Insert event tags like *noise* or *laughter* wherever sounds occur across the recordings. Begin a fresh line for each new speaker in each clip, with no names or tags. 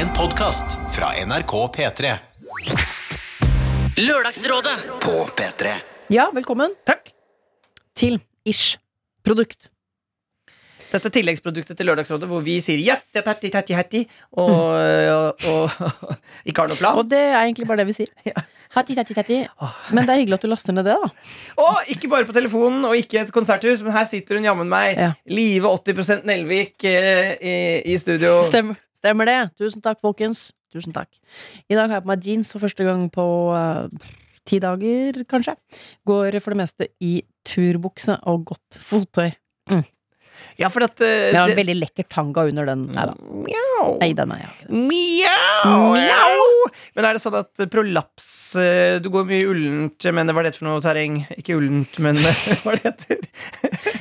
En podkast fra NRK P3.
Lørdagsrådet
på P3.
Ja, velkommen
Takk.
til Ish produkt.
Dette tilleggsproduktet til Lørdagsrådet hvor vi sier ja, det er tatti, tatti, hatti, og, og, og ikke har noen plan.
Mm. Og det er egentlig bare det vi sier. Hatti, hatti, hatti. Men det er hyggelig at du laster ned det, da.
Og ikke bare på telefonen og ikke et konserthus, men her sitter hun jammen meg,
Ja.
Live 80 Nelvik, eh, i, i studio.
Stemmer, stemmer det. Tusen takk, folkens. Tusen takk. I dag har jeg på meg jeans for første gang på eh, ti dager, kanskje. Går for det meste i turbukse og godt fottøy.
Ja, for at eh,
Jeg har en
det-
veldig lekker tanga under den. Nei da.
Mjau.
Nei, den er jeg ikke.
Mjau.
Mjau.
Men er det sånn at eh, prolaps eh, Du går mye ullent, men hva er dette for noe terreng? Ikke ullent, men *laughs* eh, hva er det heter?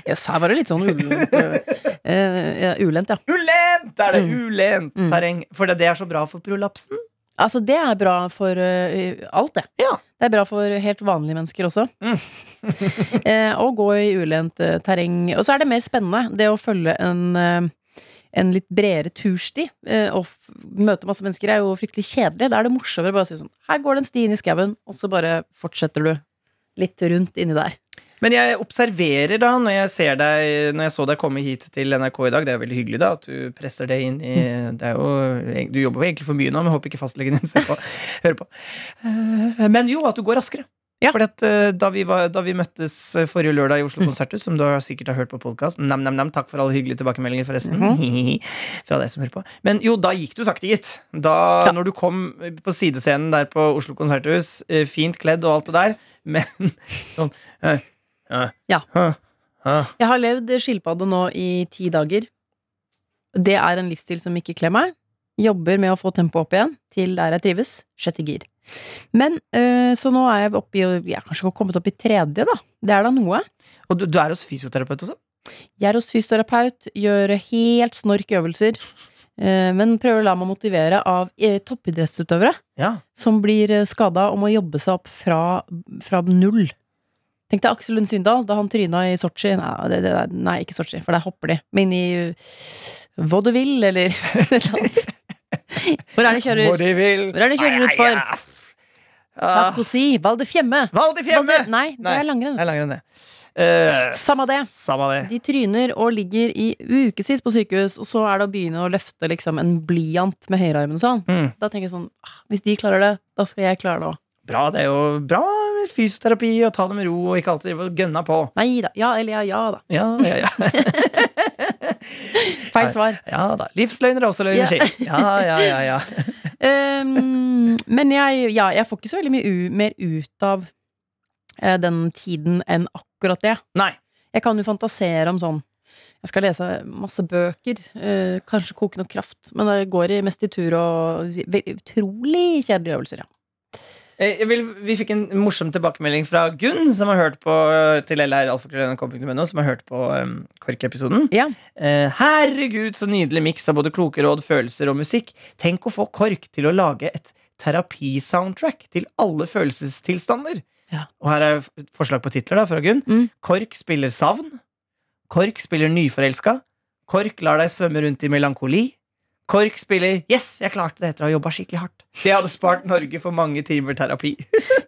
Jøss, her var det litt sånn ulent. eh, ja, ulent, ja.
Ulent! Er det
Mm.
ulent
Mm.
terreng? For det- det er så bra for prolapsen.
Altså, det er bra for eh, alt, det.
Ja.
Det er bra for helt vanlige mennesker også.
Mm.
*laughs* eh, å gå i ulendt eh, terreng. Og så er det mer spennende, det å følge en eh, en litt bredere tursti eh, og f- møte masse mennesker er jo fryktelig kjedelig. Da er det morsommere å bare si sånn Her går den stien i skauen, og så bare fortsetter du litt rundt inni der.
Men jeg observerer da, når jeg, ser deg, når jeg så deg komme hit til NRK i dag Det er jo veldig hyggelig da, at du presser det inn i det er jo, Du jobber jo egentlig for mye nå, men jeg håper ikke fastlegen din ser på, hører på. Eh, Men jo, at du går raskere.
Ja.
Fordi at eh, da vi, var, da vi møttes forrige lørdag i Oslo
Mm.
Konserthus, som du har- sikkert har hørt på podkast Nam-nam-nam, takk for alle hyggelige tilbakemeldinger, forresten.
Mhm.
*laughs* Fra deg som hører på. Men jo, da gikk du sakte, gitt. Da
Ja.
når du kom på sidescenen der på Oslo Konserthus, eh, fint kledd og alt det der, men *laughs* sånn eh, eh,
Ja.
eh, eh.
Jeg har levd skilpadde nå i ti dager. Det er en livsstil som ikke kler meg. Jobber med å få tempoet opp igjen til der jeg trives. Sjette gir. Men øh, så nå er jeg oppe i Jeg er kanskje kommet opp i tredje, da. Det er da noe.
Og du, du er hos fysioterapeut også?
Jeg er hos fysioterapeut, gjør helt snork øvelser. øh, men prøver å la meg motivere av eh, toppidrettsutøvere
Ja.
som blir skada og må jobbe seg opp fra, fra null. Tenk deg Aksel Lund Svindal da han tryna i Sotsji. Nei, det, det, nei, ikke Sotsji, for der hopper de. Men i vaudeville eller *laughs* et eller annet. Hvor er det de kjører? Hvor er det de kjører ut for? Sarkozy, Val de Fiemme.
Val di
Val
Fiemme!
de- Nei, det
Nei.
er langrenn.
Jeg er langere enn det. Eh,
Samme det.
Samme det.
De tryner og ligger i ukevis på sykehus, og så er det å begynne å løfte liksom, en blyant med høyrearmen og sånn.
Mm.
Da tenker jeg sånn ah, Hvis de klarer det, da skal jeg klare det òg.
Bra, det er jo bra med fysioterapi og ta det med ro og ikke alltid drive og gønna på.
Nei da. Ja eller ja, ja da.
Ja, ja, ja.
Feil svar.
ja da. Livsløgner er også løgner.
Ja.
sier. Ja, ja, ja, ja.
Ehm, men jeg, ja, jeg får ikke så veldig mye u mer ut av eh, den tiden enn akkurat det.
Nei.
Jeg kan jo fantasere om sånn Jeg skal lese masse bøker, eh, kanskje koke noe kraft, men det går i mest i tur og ve- utrolig kjedelige øvelser, ja.
Eh, Jeg vil, vi fikk en morsom tilbakemelding fra Gunn, som har hørt på eh, til LR-alfakrøll.nrk.no, som har hørt på um, KORK-episoden.
Ja.
Eh, herregud, så nydelig miks av både kloke råd, følelser og musikk. Tenk å få KORK til å lage et terapisoundtrack til alle følelsestilstander.
Ja.
Og her er f- et forslag på titler da, fra Gunn.
Mm.
KORK spiller savn. KORK spiller nyforelska. KORK lar deg svømme rundt i melankoli. KORK spiller 'Yes, jeg klarte det etter å ha jobba skikkelig hardt'. Det hadde spart Norge for mange timer terapi.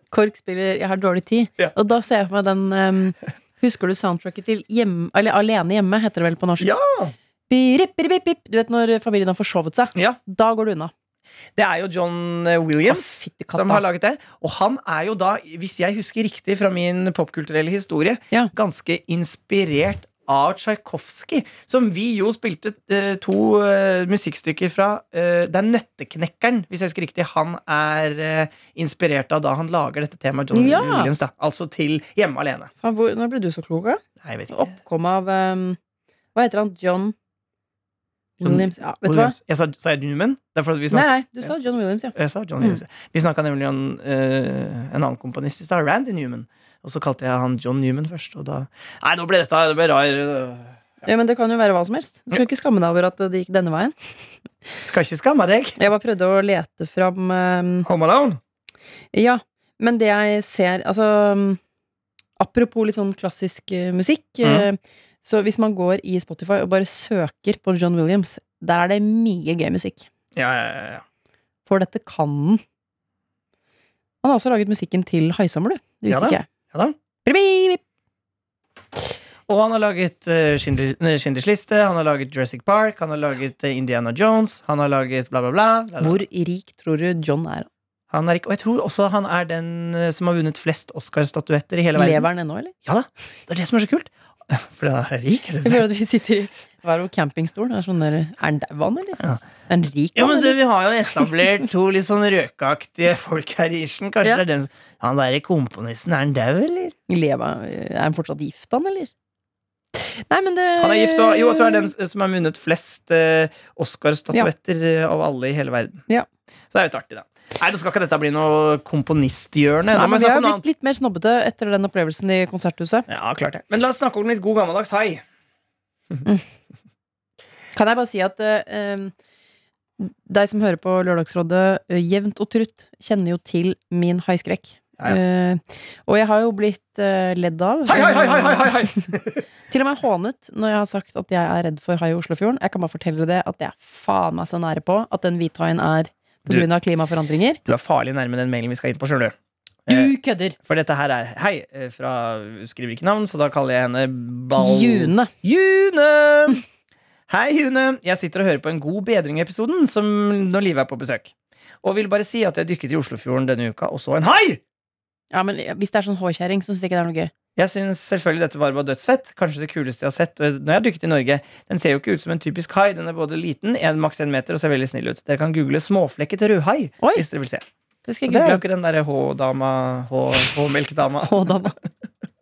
KORK spiller 'Jeg har dårlig tid',
Ja.
og da ser jeg for meg den ehm, Husker du soundtracket til hjem, eller 'Alene hjemme', heter det vel på norsk?
Ja!
Birip, birip, birip. Du vet når familien har forsovet seg?
Ja.
Da går du unna.
*laughs* Det er jo John eh, Williams
Å, fytti katta.
som har laget det. Og han er jo da, hvis jeg husker riktig fra min popkulturelle historie,
Ja.
ganske inspirert av Tsjajkovskij. Som vi jo spilte eh, to eh, musikkstykker fra. eh, det er Nøtteknekkeren, hvis jeg husker riktig. Han er eh, inspirert av da han lager dette temaet. John
Ja.
Williams da Altså til Hjemme alene.
Faen, hvor- Nå ble du så klok, ja.
Nei, jeg vet ikke.
Oppkom av ehm, Hva heter han? John
John
Williams? Ja, vet du hva?
Williams. Jeg sa, sa jeg Newman? Det er fordi vi
Nei,
snakker-
nei, du sa John Williams, ja.
Jeg sa John
Mm.
Williams. Vi snakka nemlig om eh, en annen komponist i stad, Randy Newman. Og så kalte jeg han John Newman først, og da Nei, nå ble dette det ble rar. eh,
ja. Men det kan jo være hva som helst. Du skal ikke skamme deg over at eh, det gikk denne veien.
Skal ikke skamme deg.
Jeg bare prøvde å lete fram ehm,
Home Alone.
Ja, men det jeg ser Altså, mm, apropos litt sånn klassisk eh, musikk. eh, Så hvis man går i Spotify og bare søker på John Williams, der er det mye gøy musikk.
Ja, ja, ja, ja.
For dette kan den. Han har også laget musikken til Haisommer, du. Det visste
Ja da.
ikke jeg.
Ja da.
Bribibib.
Og han har laget eh, Schindler- nei, Schindlers liste, han har laget Jurassic Park, han har laget eh, Indiana Jones, han har laget bla, bla, bla. la, la, la.
Hvor rik tror du John er?
Han er ikke, og jeg tror også han er den eh, som har vunnet flest Oscar-statuetter i hele verden.
Lever han ennå, eller?
Ja da, Det er det som er så kult. *laughs* Fordi han er rik. Er
Jeg
det
føler at vi sitter i hver vår campingstol. Det Er, sånn der, er han dau, han, eller?
Ja.
Er han rik,
Ja,
han,
men du,
eller?
Vi har jo etablert to litt sånn røkeaktige folk her i Isjen. Kanskje
Ja.
det er den som- Han derre komponisten, er han dau, eller?
Lever, er han fortsatt gift, han, eller? Nei, men det
Han er gift og Jo, jeg tror det er den s- som har vunnet flest eh, Oscar-statuetter eh, av alle i hele verden.
Ja.
Så det er jo litt artig, da. Nei, da skal ikke dette bli noe komponisthjørne.
Nei,
Da må
men
vi
vi
snakke
har jo
om noe
blitt
annet.
litt mer snobbete etter den opplevelsen i konserthuset.
Ja, klart det. Men la oss snakke om litt god gammeldags hai.
Kan jeg bare si at eh, deg som hører på Lørdagsrådet eh, jevnt og trutt, kjenner jo til min haiskrekk.
Ja, ja.
Eh, og jeg har jo blitt eh, ledd av. Eh,
Hei, hei, hei, hei, hei, hei, hei.
Til og med hånet når jeg har sagt at jeg er redd for hai i Oslofjorden. Jeg kan bare fortelle det at jeg er faen meg så nære på at den hvithaien er
Du-
pga. klimaforandringer.
Du er farlig nærme den mailen vi skal inn på, sjøl,
Du
Eh,
kødder!
For dette her er Hei, eh, fra hun Skriver ikke navn, så da kaller jeg henne Ball...
June.
June! Hei, June. Jeg sitter og hører på en God bedring-episoden som når Live er på besøk. Og vil bare si at jeg dykket i Oslofjorden denne uka og så en hai!
Ja, men Hvis det er sånn håkjerring, så syns jeg ikke det er noe gøy.
Jeg syns selvfølgelig dette var bare dødsfett. Kanskje det kuleste jeg har sett eh, når jeg har dykket i Norge. Den ser jo ikke ut som en typisk hai. Den er både liten, en, maks én meter, og ser veldig snill ut. Dere kan google småflekket rødhai
Oi,
hvis dere vil se.
det skal
Og det er
jeg
jo ikke den derre H-dama, H- H-melkedama.
google.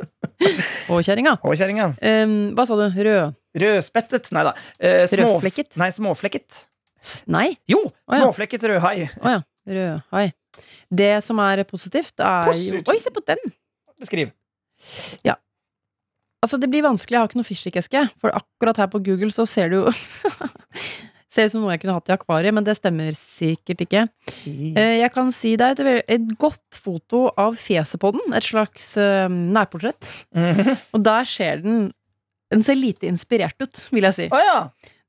*laughs*
Håkjerringa.
H-kjerringa.
Um, hva sa du? Rød?
Rødspettet. Nei da. Eh, små-
Rødflekket?
Nei, småflekket.
S- Nei,
Jo!
Å, ja.
Småflekket rødhai.
rødhai. Det som er positivt, er jo
Positivt.
Oi, se på den!
Beskriv.
Altså, det blir vanskelig. Jeg har ikke noe fiskeeske. For akkurat her på Google så ser det jo *laughs* Ser ut som noe jeg kunne hatt i akvariet, men det stemmer sikkert ikke.
Mm.
Eh, Jeg kan si det er et, vel- et godt foto av fjeset på den. Et slags eh, nærportrett.
Mhm.
Og der ser den Den ser lite inspirert ut, vil jeg si.
Å ja!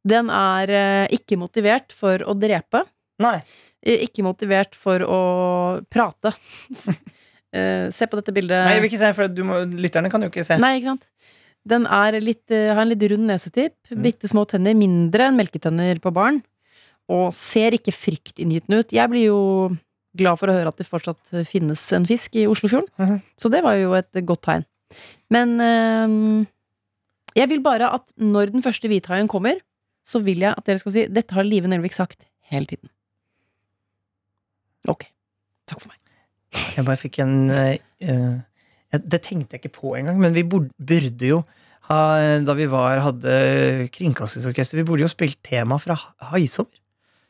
Den er eh, ikke motivert for å drepe.
Nei.
eh, Ikke motivert for å prate. *laughs* Eh, Se på dette bildet.
Nei, jeg vil ikke se, for du må, lytterne kan jo ikke se.
*laughs* Nei, ikke sant? Den er litt, eh, har en litt rund nesetipp,
Mm.
bitte små tenner, mindre enn melketenner på barn, og ser ikke fryktinngytende ut. Jeg blir jo glad for å høre at det fortsatt finnes en fisk i Oslofjorden,
Mhm.
så det var jo et godt tegn. Men eh, jeg vil bare at når den første hvithaien kommer, så vil jeg at dere skal si dette har Live Nelvik sagt hele tiden. Ok. Takk for meg.
Jeg bare fikk en eh, eh, jeg- Det tenkte jeg ikke på engang, men vi burde, burde jo ha, eh, da vi var, hadde Kringkastingsorkester, vi burde jo spilt tema fra Ha- Haisommer.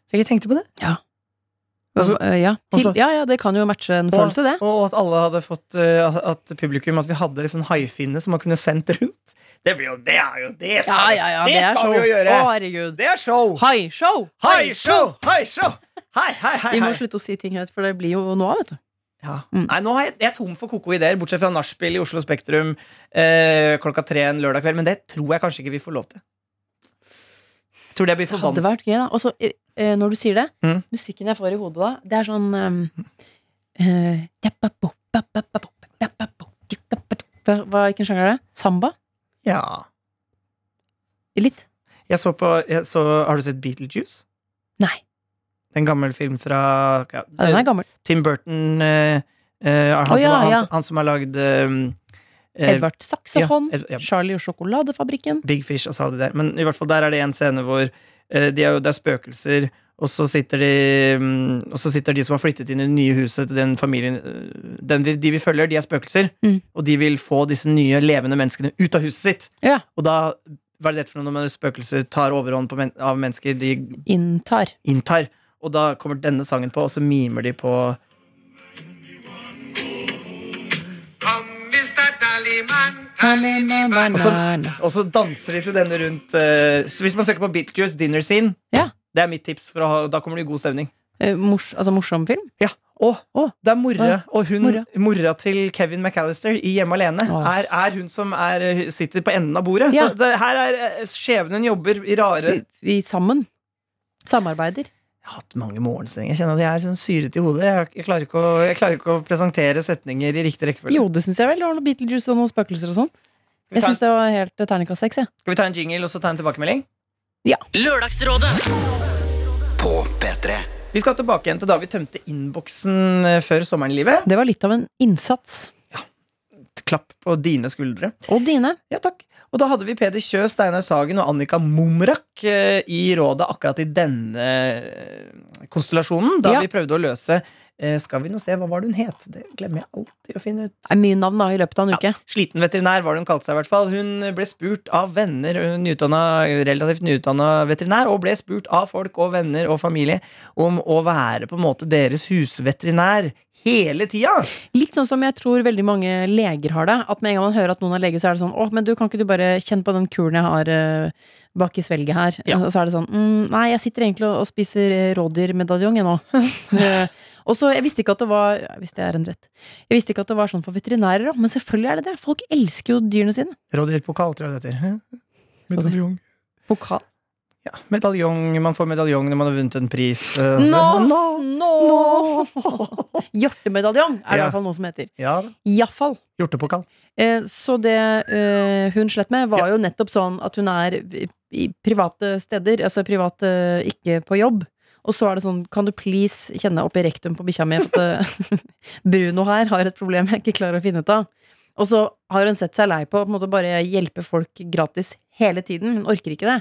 Så jeg ikke tenkte på det. Altså-
Eh, ja, til,
altså-
ja, ja, det kan jo matche en følelse, det.
Og at alle hadde fått eh, at- at publikum At vi hadde liksom haifinne som man kunne sendt rundt. Det, blir jo, det er jo det!
Ja,
skal vi-
ja, ja,
det
det, er
skal
show.
vi jo gjøre!
Å, herregud.
Det er show!
Haishow!
Haishow! Haishow! Hei, hei, hei!
Vi må
hei.
slutte å si ting høyt, for det blir jo noe av, vet du.
Ja.
Mm.
Nei, nå er jeg, jeg er tom for koko ideer, bortsett fra nachspiel i Oslo Spektrum eh, klokka tre en lørdag kveld. Men det tror jeg kanskje ikke vi får lov til. Jeg tror det blir for
Hadde
vanskelig.
vært gøy, da. Og så, eh, eh, når du sier det,
Mm.
musikken jeg får i hodet da, det er sånn eh, eh, tjapapo, papapapo, papapapo, tjikapato. Hva- Hva, Hvilken sjanger er det? Samba?
Ja.
Litt?
Jeg så på jeg så, Har du sett Beetlejuice?
Nei.
En gammel film fra ja, eh,
Ja, den er gammel.
Tim Burton. Eh, eh, han,
Å,
som,
ja,
han,
ja.
han som har lagd eh,
Edvard Saxofon.
ja, Ed- ja.
Charlie og sjokoladefabrikken.
Big Fish og sa det der. Men i hvert fall der er det en scene hvor eh, de er jo, det er spøkelser, og så sitter de mm, Og så sitter de som har flyttet inn i det nye huset til den familien eh, den vi, De vi følger, de er spøkelser,
Mm.
og de vil få disse nye levende menneskene ut av huset sitt.
Ja.
Og da hva er det for noe når spøkelser tar overhånd på men av mennesker de
Inntar.
inntar? Og da kommer denne sangen på, og så mimer de på
Come, Mr. Tallyman, Tallyman.
Og så, og så danser de til denne rundt eh, Så Hvis man søker på Bitjuice Dinner Scene,
Ja.
det er mitt tips, for å ha, da kommer det i god stemning.
Eh, mors, altså morsom film?
Ja, og
Å.
det er mora,
Ja,
og hun,
mora.
mora. til Kevin McAllister i Hjemme alene
Å.
er, er hun som er, sitter på enden av bordet.
Ja.
Så det, her er eh, skjebnen jobber i rare
Vi sammen. Samarbeider.
Jeg har hatt mange morgensendinger. Jeg kjenner at jeg er sånn syret i hodet. Jeg, har- jeg, klarer, ikke å, jeg klarer ikke å presentere setninger i riktig rekkefølge.
Jo, det syns jeg vel. Det var noe Beetlejuice og noen spøkelser og sånn.
Skal vi
Jeg
ta en-
syns det var helt eh, terningkast seks, jeg.
Skal vi ta en jingle og så ta en tilbakemelding?
Lørdagsrådet.
Vi skal tilbake igjen til da vi tømte innboksen eh, før sommeren i livet.
Det var litt av en innsats.
Klapp på dine skuldre.
Og dine.
Ja, takk. Og da hadde vi Peder Kjø, Steinar Sagen og Annika Mumrak eh, i rådet akkurat i denne eh, konstellasjonen, da
Ja.
vi prøvde å løse eh, Skal vi nå se, hva var det hun het? Det glemmer jeg alltid å finne ut.
Det er mye navn da i løpet av en uke.
Sliten veterinær var det hun kalte seg. i hvert fall Hun ble spurt av venner, hun nyutdannet- relativt nyutdanna veterinær, og ble spurt av folk og venner og familie om å være på en måte deres husveterinær hele tida.
Litt sånn som jeg tror veldig mange leger har det. At med en gang man hører at noen er lege, så er det sånn Å, men du, kan ikke du bare kjenne på den kuren jeg har eh, bak i svelget her?
Ja.
Og så er det sånn mm, Nei, jeg sitter egentlig og, og spiser eh, rådyrmedaljong, jeg nå. *laughs* Eh, og så, Jeg visste ikke at det var Hvis det er en rett. Jeg visste ikke at det var sånn for veterinærer òg, men selvfølgelig er det det. Folk elsker jo dyrene sine.
Rådyrpokal, tror jeg det heter.
Medaljong. Pokal.
Ja, medaljong. Man får medaljong når man har vunnet en pris. eh, altså.
Nå! *laughs* Nå!
Nå!
Hjortemedaljong er det i
Ja.
hvert fall noe som heter.
Ja, da.
Iallfall.
hjortepokal.
Eh, Så det eh, hun slet med, var jo nettopp sånn at hun er i- i private steder, altså private ikke på jobb. Og så er det sånn, kan du please kjenne opp i rektum på bikkja mi at eh, *laughs* Bruno her har et problem jeg ikke klarer å finne ut av. Og så har hun sett seg lei på å på en måte bare hjelpe folk gratis hele tiden. Hun orker ikke det.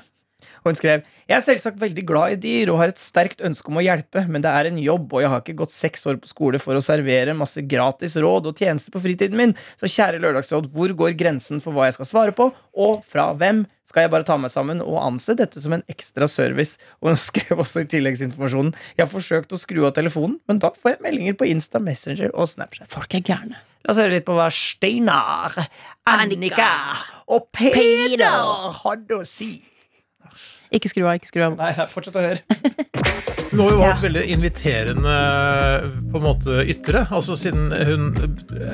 Og hun skrev Jeg er selvsagt veldig glad i dyr og har et sterkt ønske om å hjelpe, men det er en jobb, og jeg har ikke gått seks år på skole for å servere masse gratis råd og tjenester på fritiden min. Så kjære Lørdagsråd, hvor går grensen for hva jeg skal svare på, og fra hvem? Skal jeg bare ta meg sammen og anse dette som en ekstra service? Og hun *laughs* skrev også i tilleggsinformasjonen Jeg har forsøkt å skru av telefonen, men da får jeg meldinger på Insta, Messenger og Snapchat.
Folk er gærne.
La oss høre litt på hva Steinar, Annika og Peder hadde å si.
Ikke skru av, ikke skru av.
Nei, fortsett å høre.
Hun har jo vært veldig inviterende på en måte ytre. Altså siden hun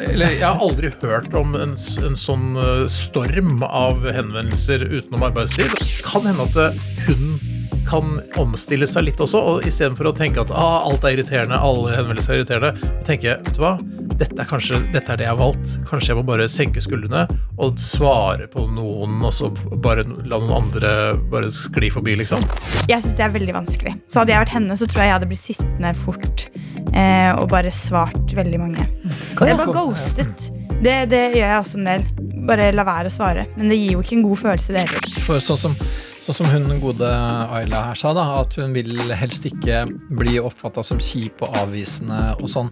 Eller jeg har aldri hørt om en, s- en sånn eh, storm av henvendelser utenom arbeidstid. Kan hende at eh, hun kan omstille seg litt også, og istedenfor å tenke at ah, alt er irriterende, alle henvendelser er irriterende, tenke vet du hva, dette er kanskje dette er det jeg har valgt. Kanskje jeg må bare senke skuldrene og svare på noen, og så bare la noen andre bare skli forbi, liksom.
Jeg syns det er veldig vanskelig. Så hadde jeg vært henne, så tror jeg jeg hadde blitt sittende fort eh, og bare svart veldig mange. Og jeg bare ghostet. Det, det gjør jeg også en del. Bare la være å svare. Men det gir jo ikke en god følelse, det heller.
For sånn som, sånn som hun gode Ayla her sa, da, at hun vil helst ikke bli oppfatta som kjip og avvisende og sånn.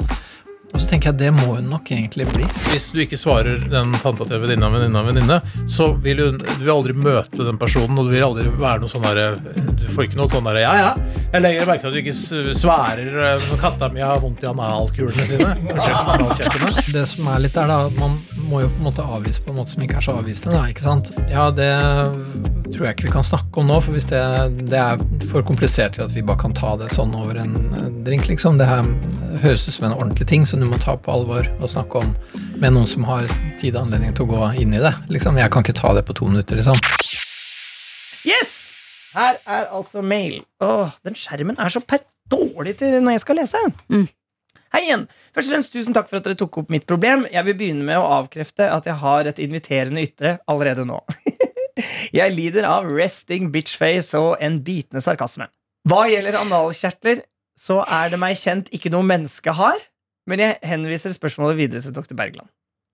Og så tenker jeg det må hun nok egentlig bli.
Hvis du ikke svarer den tanta til venninna, venninna, venninne, så vil hun, du vil aldri møte den personen, og du vil aldri være noe sånn derre Du får ikke noe sånn derre Ja, ja, jeg legger merke til at du ikke s- sværer eh, når katta mi har vondt i analkulene sine. Unnskyld, analkjertlene.
Det som er litt der, da, at man må jo på en måte avvise på en måte som ikke er så avvisende, da, ikke sant. Ja, det tror jeg ikke vi kan snakke om nå, for hvis det, det er for komplisert til at vi bare kan ta det sånn over en eh, drink, liksom. Det her høres ut som en ordentlig ting som du må ta på alvor og snakke om med noen som har tid og anledning til å gå inn i det, liksom. Jeg kan ikke ta det på to minutter, liksom.
Yes! Her er altså mail. Åh, den skjermen er så per dårlig til når jeg skal lese.
Mm.
Hei igjen. Først og fremst Tusen takk for at dere tok opp mitt problem. Jeg vil begynne med å avkrefte at jeg har et inviterende ytre allerede nå. *laughs* jeg lider av resting bitchface og en bitende sarkasme. Hva gjelder analkjertler, så er det meg kjent ikke noe menneske har, men jeg henviser spørsmålet videre til dr. Bergland.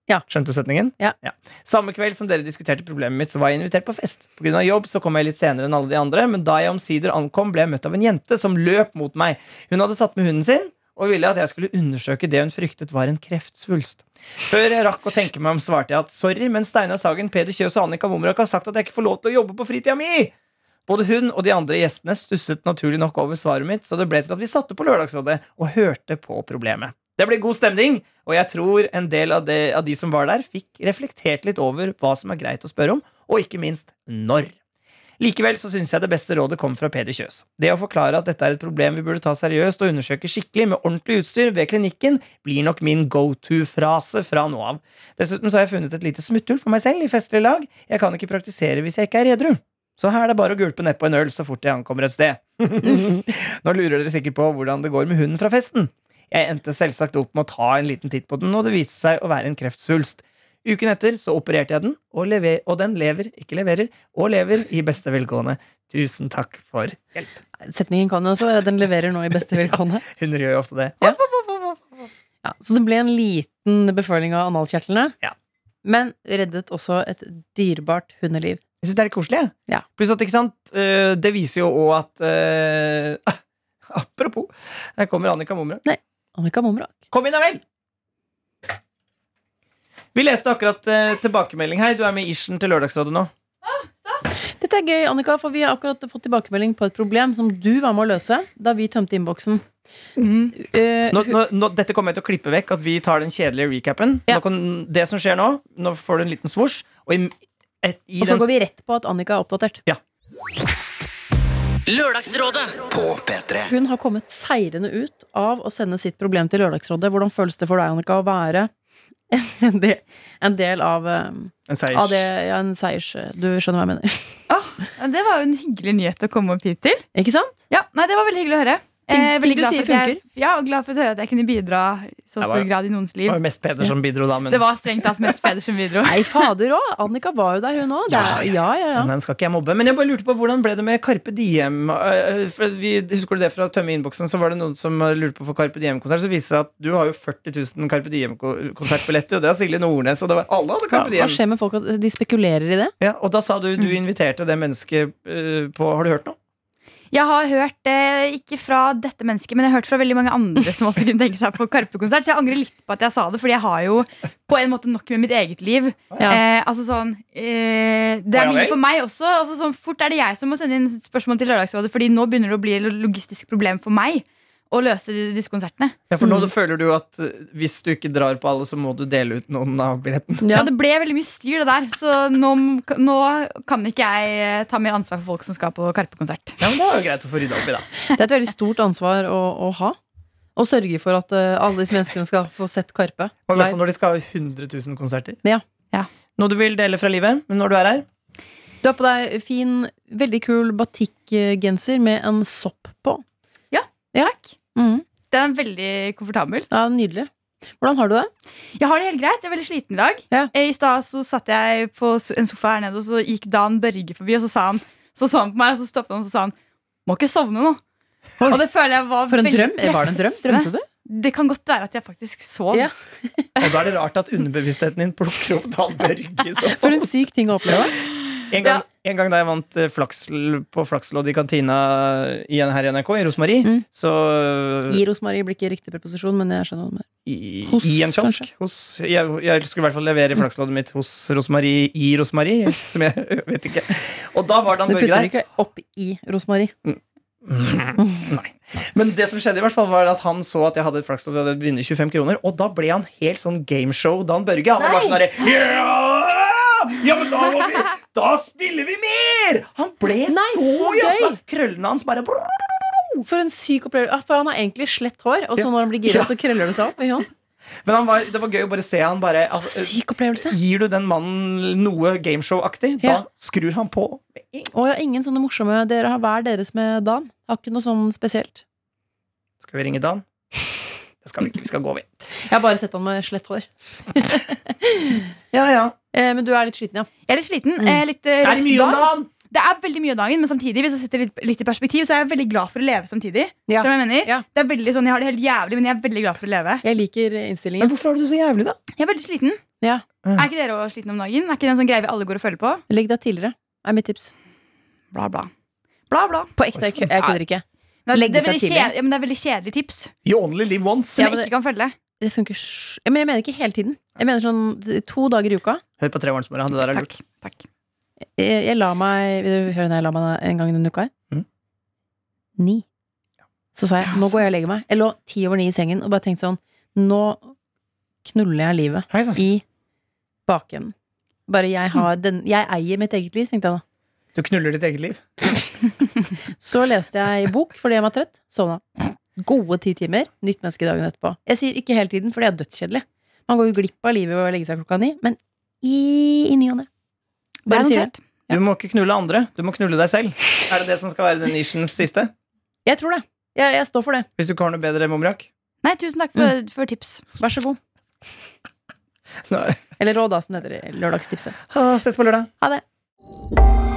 Ja.
Skjønte setningen?
Ja.
Samme kveld som dere diskuterte problemet mitt, så var jeg invitert på fest. På grunn av jobb så kom jeg litt senere enn alle de andre, men da jeg omsider ankom, ble jeg møtt av en jente som løp mot meg. Hun hadde tatt med hunden sin og ville at jeg skulle undersøke det hun fryktet var en kreftsvulst. Før jeg rakk å tenke meg om, svarte jeg at sorry, men Steinar Sagen, Peder Kjøs og Annika Momrak har sagt at jeg ikke får lov til å jobbe på fritida mi! Både hun og de andre gjestene stusset naturlig nok over svaret mitt, så det ble til at vi satte på Lørdagsrådet og hørte på problemet. Det ble god stemning, og jeg tror en del av, det, av de som var der, fikk reflektert litt over hva som er greit å spørre om, og ikke minst når. Likevel så syns jeg det beste rådet kom fra Peder Kjøs. Det å forklare at dette er et problem vi burde ta seriøst og undersøke skikkelig med ordentlig utstyr ved klinikken, blir nok min go to-frase fra nå av. Dessuten så har jeg funnet et lite smutthull for meg selv i festlig lag. Jeg kan ikke praktisere hvis jeg ikke er edru. Så her er det bare å gulpe nedpå en øl så fort jeg ankommer et sted. *laughs* Nå lurer dere sikkert på hvordan det går med hunden fra festen. Jeg endte selvsagt opp med å ta en liten titt på den, og det viste seg å være en kreftsvulst. Uken etter så opererte jeg den, og, lever, og den lever, ikke leverer, og lever i beste velgående. Tusen takk for hjelp.
Setningen kan jo også være at den leverer nå i beste velgående.
Hunder gjør jo ofte det.
Ja. Ja, så det ble en liten beføling av analkjertlene.
Ja.
Men reddet også et dyrebart hundeliv.
Jeg synes det er litt koselig. jeg.
Ja.
Pluss at, ikke sant, eh, det viser jo òg at eh, *laughs* Apropos, her kommer Annika Momre.
Annika Momrak.
Kom inn, da vel! Vi leste akkurat eh, tilbakemelding her. Du er med i Ishen til Lørdagsrådet nå.
Dette er gøy, Annika, for vi har akkurat fått tilbakemelding på et problem som du var med å løse da vi tømte innboksen. Eh,
Mm. nå, nå, nå, Dette kommer jeg til å klippe vekk, at vi tar den kjedelige recapen.
Ja.
Nå kan, det som skjer nå, nå får du en liten svosj, og i, et, i
og så
den
går vi rett på at Annika er oppdatert.
Lørdagsrådet.
Hun har kommet seirende ut av å sende sitt problem til Lørdagsrådet. Hvordan føles det for deg, Annika, å være en del, en del av, eh,
en seiers.
av det, ja, en seiers... Du skjønner hva jeg mener.
Ja, Det var jo en hyggelig nyhet å komme opp hit til.
Ikke sant? *laughs*
Ja, nei, Det var veldig hyggelig å høre.
Ting-
Eh, veldig
ting du
glad
sier
for at jeg- Ja, og glad for å høre at jeg kunne bidra i så
Det
stor
var-
grad i noens
Det
liv.
var jo mest Peder som bidro da, men
Det var strengt tatt mest Pedersen bidro.
Nei, fader òg! Annika var jo der, hun òg. Ja, ja, ja, ja.
Nei, den skal ikke jeg mobbe. Men jeg bare lurte på hvordan ble det med Carpe Diem? øh, for Vi, husker du det fra Tømme innboksen? Så var det noen som lurte på for Carpe Diem-konsert. Så viste det seg at du har jo 40 000 Carpe Diem-konsertbilletter, og det har Silje Nordnes, og det var alle
Ja,
hadde
Mm.
Carpe
Hva
Diem.
skjer med folk at de spekulerer i det?
Ja, og da sa du du inviterte det mennesket øh, på Har du hørt noe?
Jeg har hørt, eh, ikke fra dette mennesket, men jeg har hørt fra veldig mange andre som også kunne tenke seg på Karpe-konsert, så jeg angrer litt på at jeg sa det, fordi jeg har jo på en måte nok med mitt eget liv.
Ja.
Eh, altså sånn eh, Det
Ah,
er
ja
mye
vel.
for meg også. Altså sånn, fort er det jeg som må sende inn spørsmål til Lørdagsrådet, Fordi nå begynner det å bli et logistisk problem for meg å løse disse konsertene.
Ja, for nå føler du at øh, hvis du ikke drar på alle, så må du dele ut noen av billetten.
Ja. Det ble veldig mye styr, det der. Så nå, nå kan ikke jeg eh, ta mer ansvar for folk som skal på Karpe-konsert.
Ja, men det var jo greit å få rydda opp i, da.
Det er et veldig stort ansvar å, å ha. Å sørge for at eh, alle disse menneskene skal få sett Karpe.
Og i hvert fall
live.
når de skal ha 100 000 konserter.
Ja.
Ja.
Noe du vil dele fra livet når du er her?
Du har på deg fin, veldig kul batikkgenser med en sopp på.
Ja,
takk. Mhm.
Den er veldig komfortabel.
Ja, Nydelig. Hvordan har du det?
Jeg har det helt greit. Jeg er veldig sliten i dag.
Ja.
Eh, I stad så satt jeg på s- en sofa her nede, og så gikk Dan Børge forbi, og så sa han Så så han på meg, og så stoppet han og så sa han Må ikke sovne nå. Og det føler jeg var
For en
veldig
drøm? Eh, Var det en drøm? Drømte du?
Det kan godt være at jeg faktisk sov.
Ja.
Og da er det rart at underbevisstheten din plukker opp Dan Børge. i så
For
fall.
en syk ting å oppleve.
En gang, en gang da jeg vant eh, flaksl på flakslodd i kantina igjen her i NRK, i Rosmarie,
Mm.
så I,
Gi Rosmarie blir ikke riktig preposisjon, men jeg skjønner hva du mener. Hos,
i en kiosk
kanskje?
hos, jeg, jeg skulle i hvert fall levere flaksloddet mitt hos Rosmarie i Rosmarie, som jeg *laughs* vet ikke. Og da var Dan
Du
Børge
putter
der.
ikke opp i Rosmarie.
Nei. Men det som skjedde, i hvert fall var at han så at jeg hadde et flakslodd og jeg hadde vunnet 25 kroner, og da ble han helt sånn gameshow Dan Børge. Han var sånn herre «Ja! ja, men da må vi Da spiller vi mer! Han ble
Nei,
så
så
jazza!
gøy!
Krøllene hans bare
For en syk opplevelse. Ah, For han har egentlig slett hår, og så
Ja.
når han blir
Ja.
gira, så krøller det seg opp. Ikke sant?
Men han var, det var gøy å bare se han bare altså,
Syk opplevelse.
Gir du den mannen noe gameshow-aktig,
Ja.
da skrur han på.
Og jeg har ingen sånne morsomme Dere har hver deres med Dan. Har ikke noe sånn spesielt.
Skal vi ringe Dan? Det skal vi ikke. Vi skal gå, vi.
Jeg har bare sett han med slett hår.
Ja, ja.
Eh, men du er litt sliten, ja.
Jeg er litt sliten.
Mm.
eh, Litt eh,
Er det mye om
dag.
Dan?
Det er veldig mye av dagen, men samtidig hvis jeg setter litt, litt i perspektiv, så er jeg veldig glad for å leve samtidig.
Ja.
Som jeg mener.
Ja.
Det er veldig sånn, Jeg har det helt jævlig, men jeg er veldig glad for å leve.
Jeg liker
Men
innstillingen.
hvorfor har du det så jævlig, da?
Jeg er veldig sliten.
Ja.
Er ikke dere også slitne om dagen? Er ikke det en sånn greie vi alle går og føler på?
Legg deg tidligere, er mitt tips.
Bla, bla. Bla, bla.
På ekte. Jeg kø- jeg kødder ikke.
Det er,
Legge
det er,
seg
veldig,
tidlig.
kjedelig, ja, men det er veldig kjedelig tips som
You only live once.
Ja,
jeg
men
ikke kan følge.
Det funker sj... Men jeg mener ikke hele tiden. Jeg mener sånn t- to dager i uka.
Hør på Trebarnsmora. Det der er lurt.
Takk. Takk.
Jeg, Eh, jeg la meg Vil du høre når jeg la meg en gang i denne uka her?
Mm.
Ni. Så sa jeg
Ja,
nå
sant.
går jeg og legger meg. Jeg lå ti over ni i sengen og bare tenkte sånn Nå knuller jeg livet.
Hei, sann.
i bakenden. Bare jeg har den Jeg eier mitt eget liv, tenkte jeg da.
Du knuller ditt eget liv.
Så leste jeg bok fordi jeg var trøtt. Sovna. Gode ti timer. Nytt menneske dagen etterpå. Jeg sier ikke hele tiden, for det er dødskjedelig. Man går jo glipp av livet ved å legge seg klokka ni, men i, i ny og ne.
Det
Bare
er
sier det.
notert.
Du må ikke knulle andre, du må knulle deg selv. Er det det som skal være den nisjens siste?
Jeg tror det. Jeg, jeg står for det.
Hvis du ikke har noe bedre, Momrak?
Nei, tusen takk for,
Mm.
for tips.
Vær så god.
Nei.
Eller råd, da, som det heter i lørdagstipset.
Ah, ses på lørdag.
Ha det.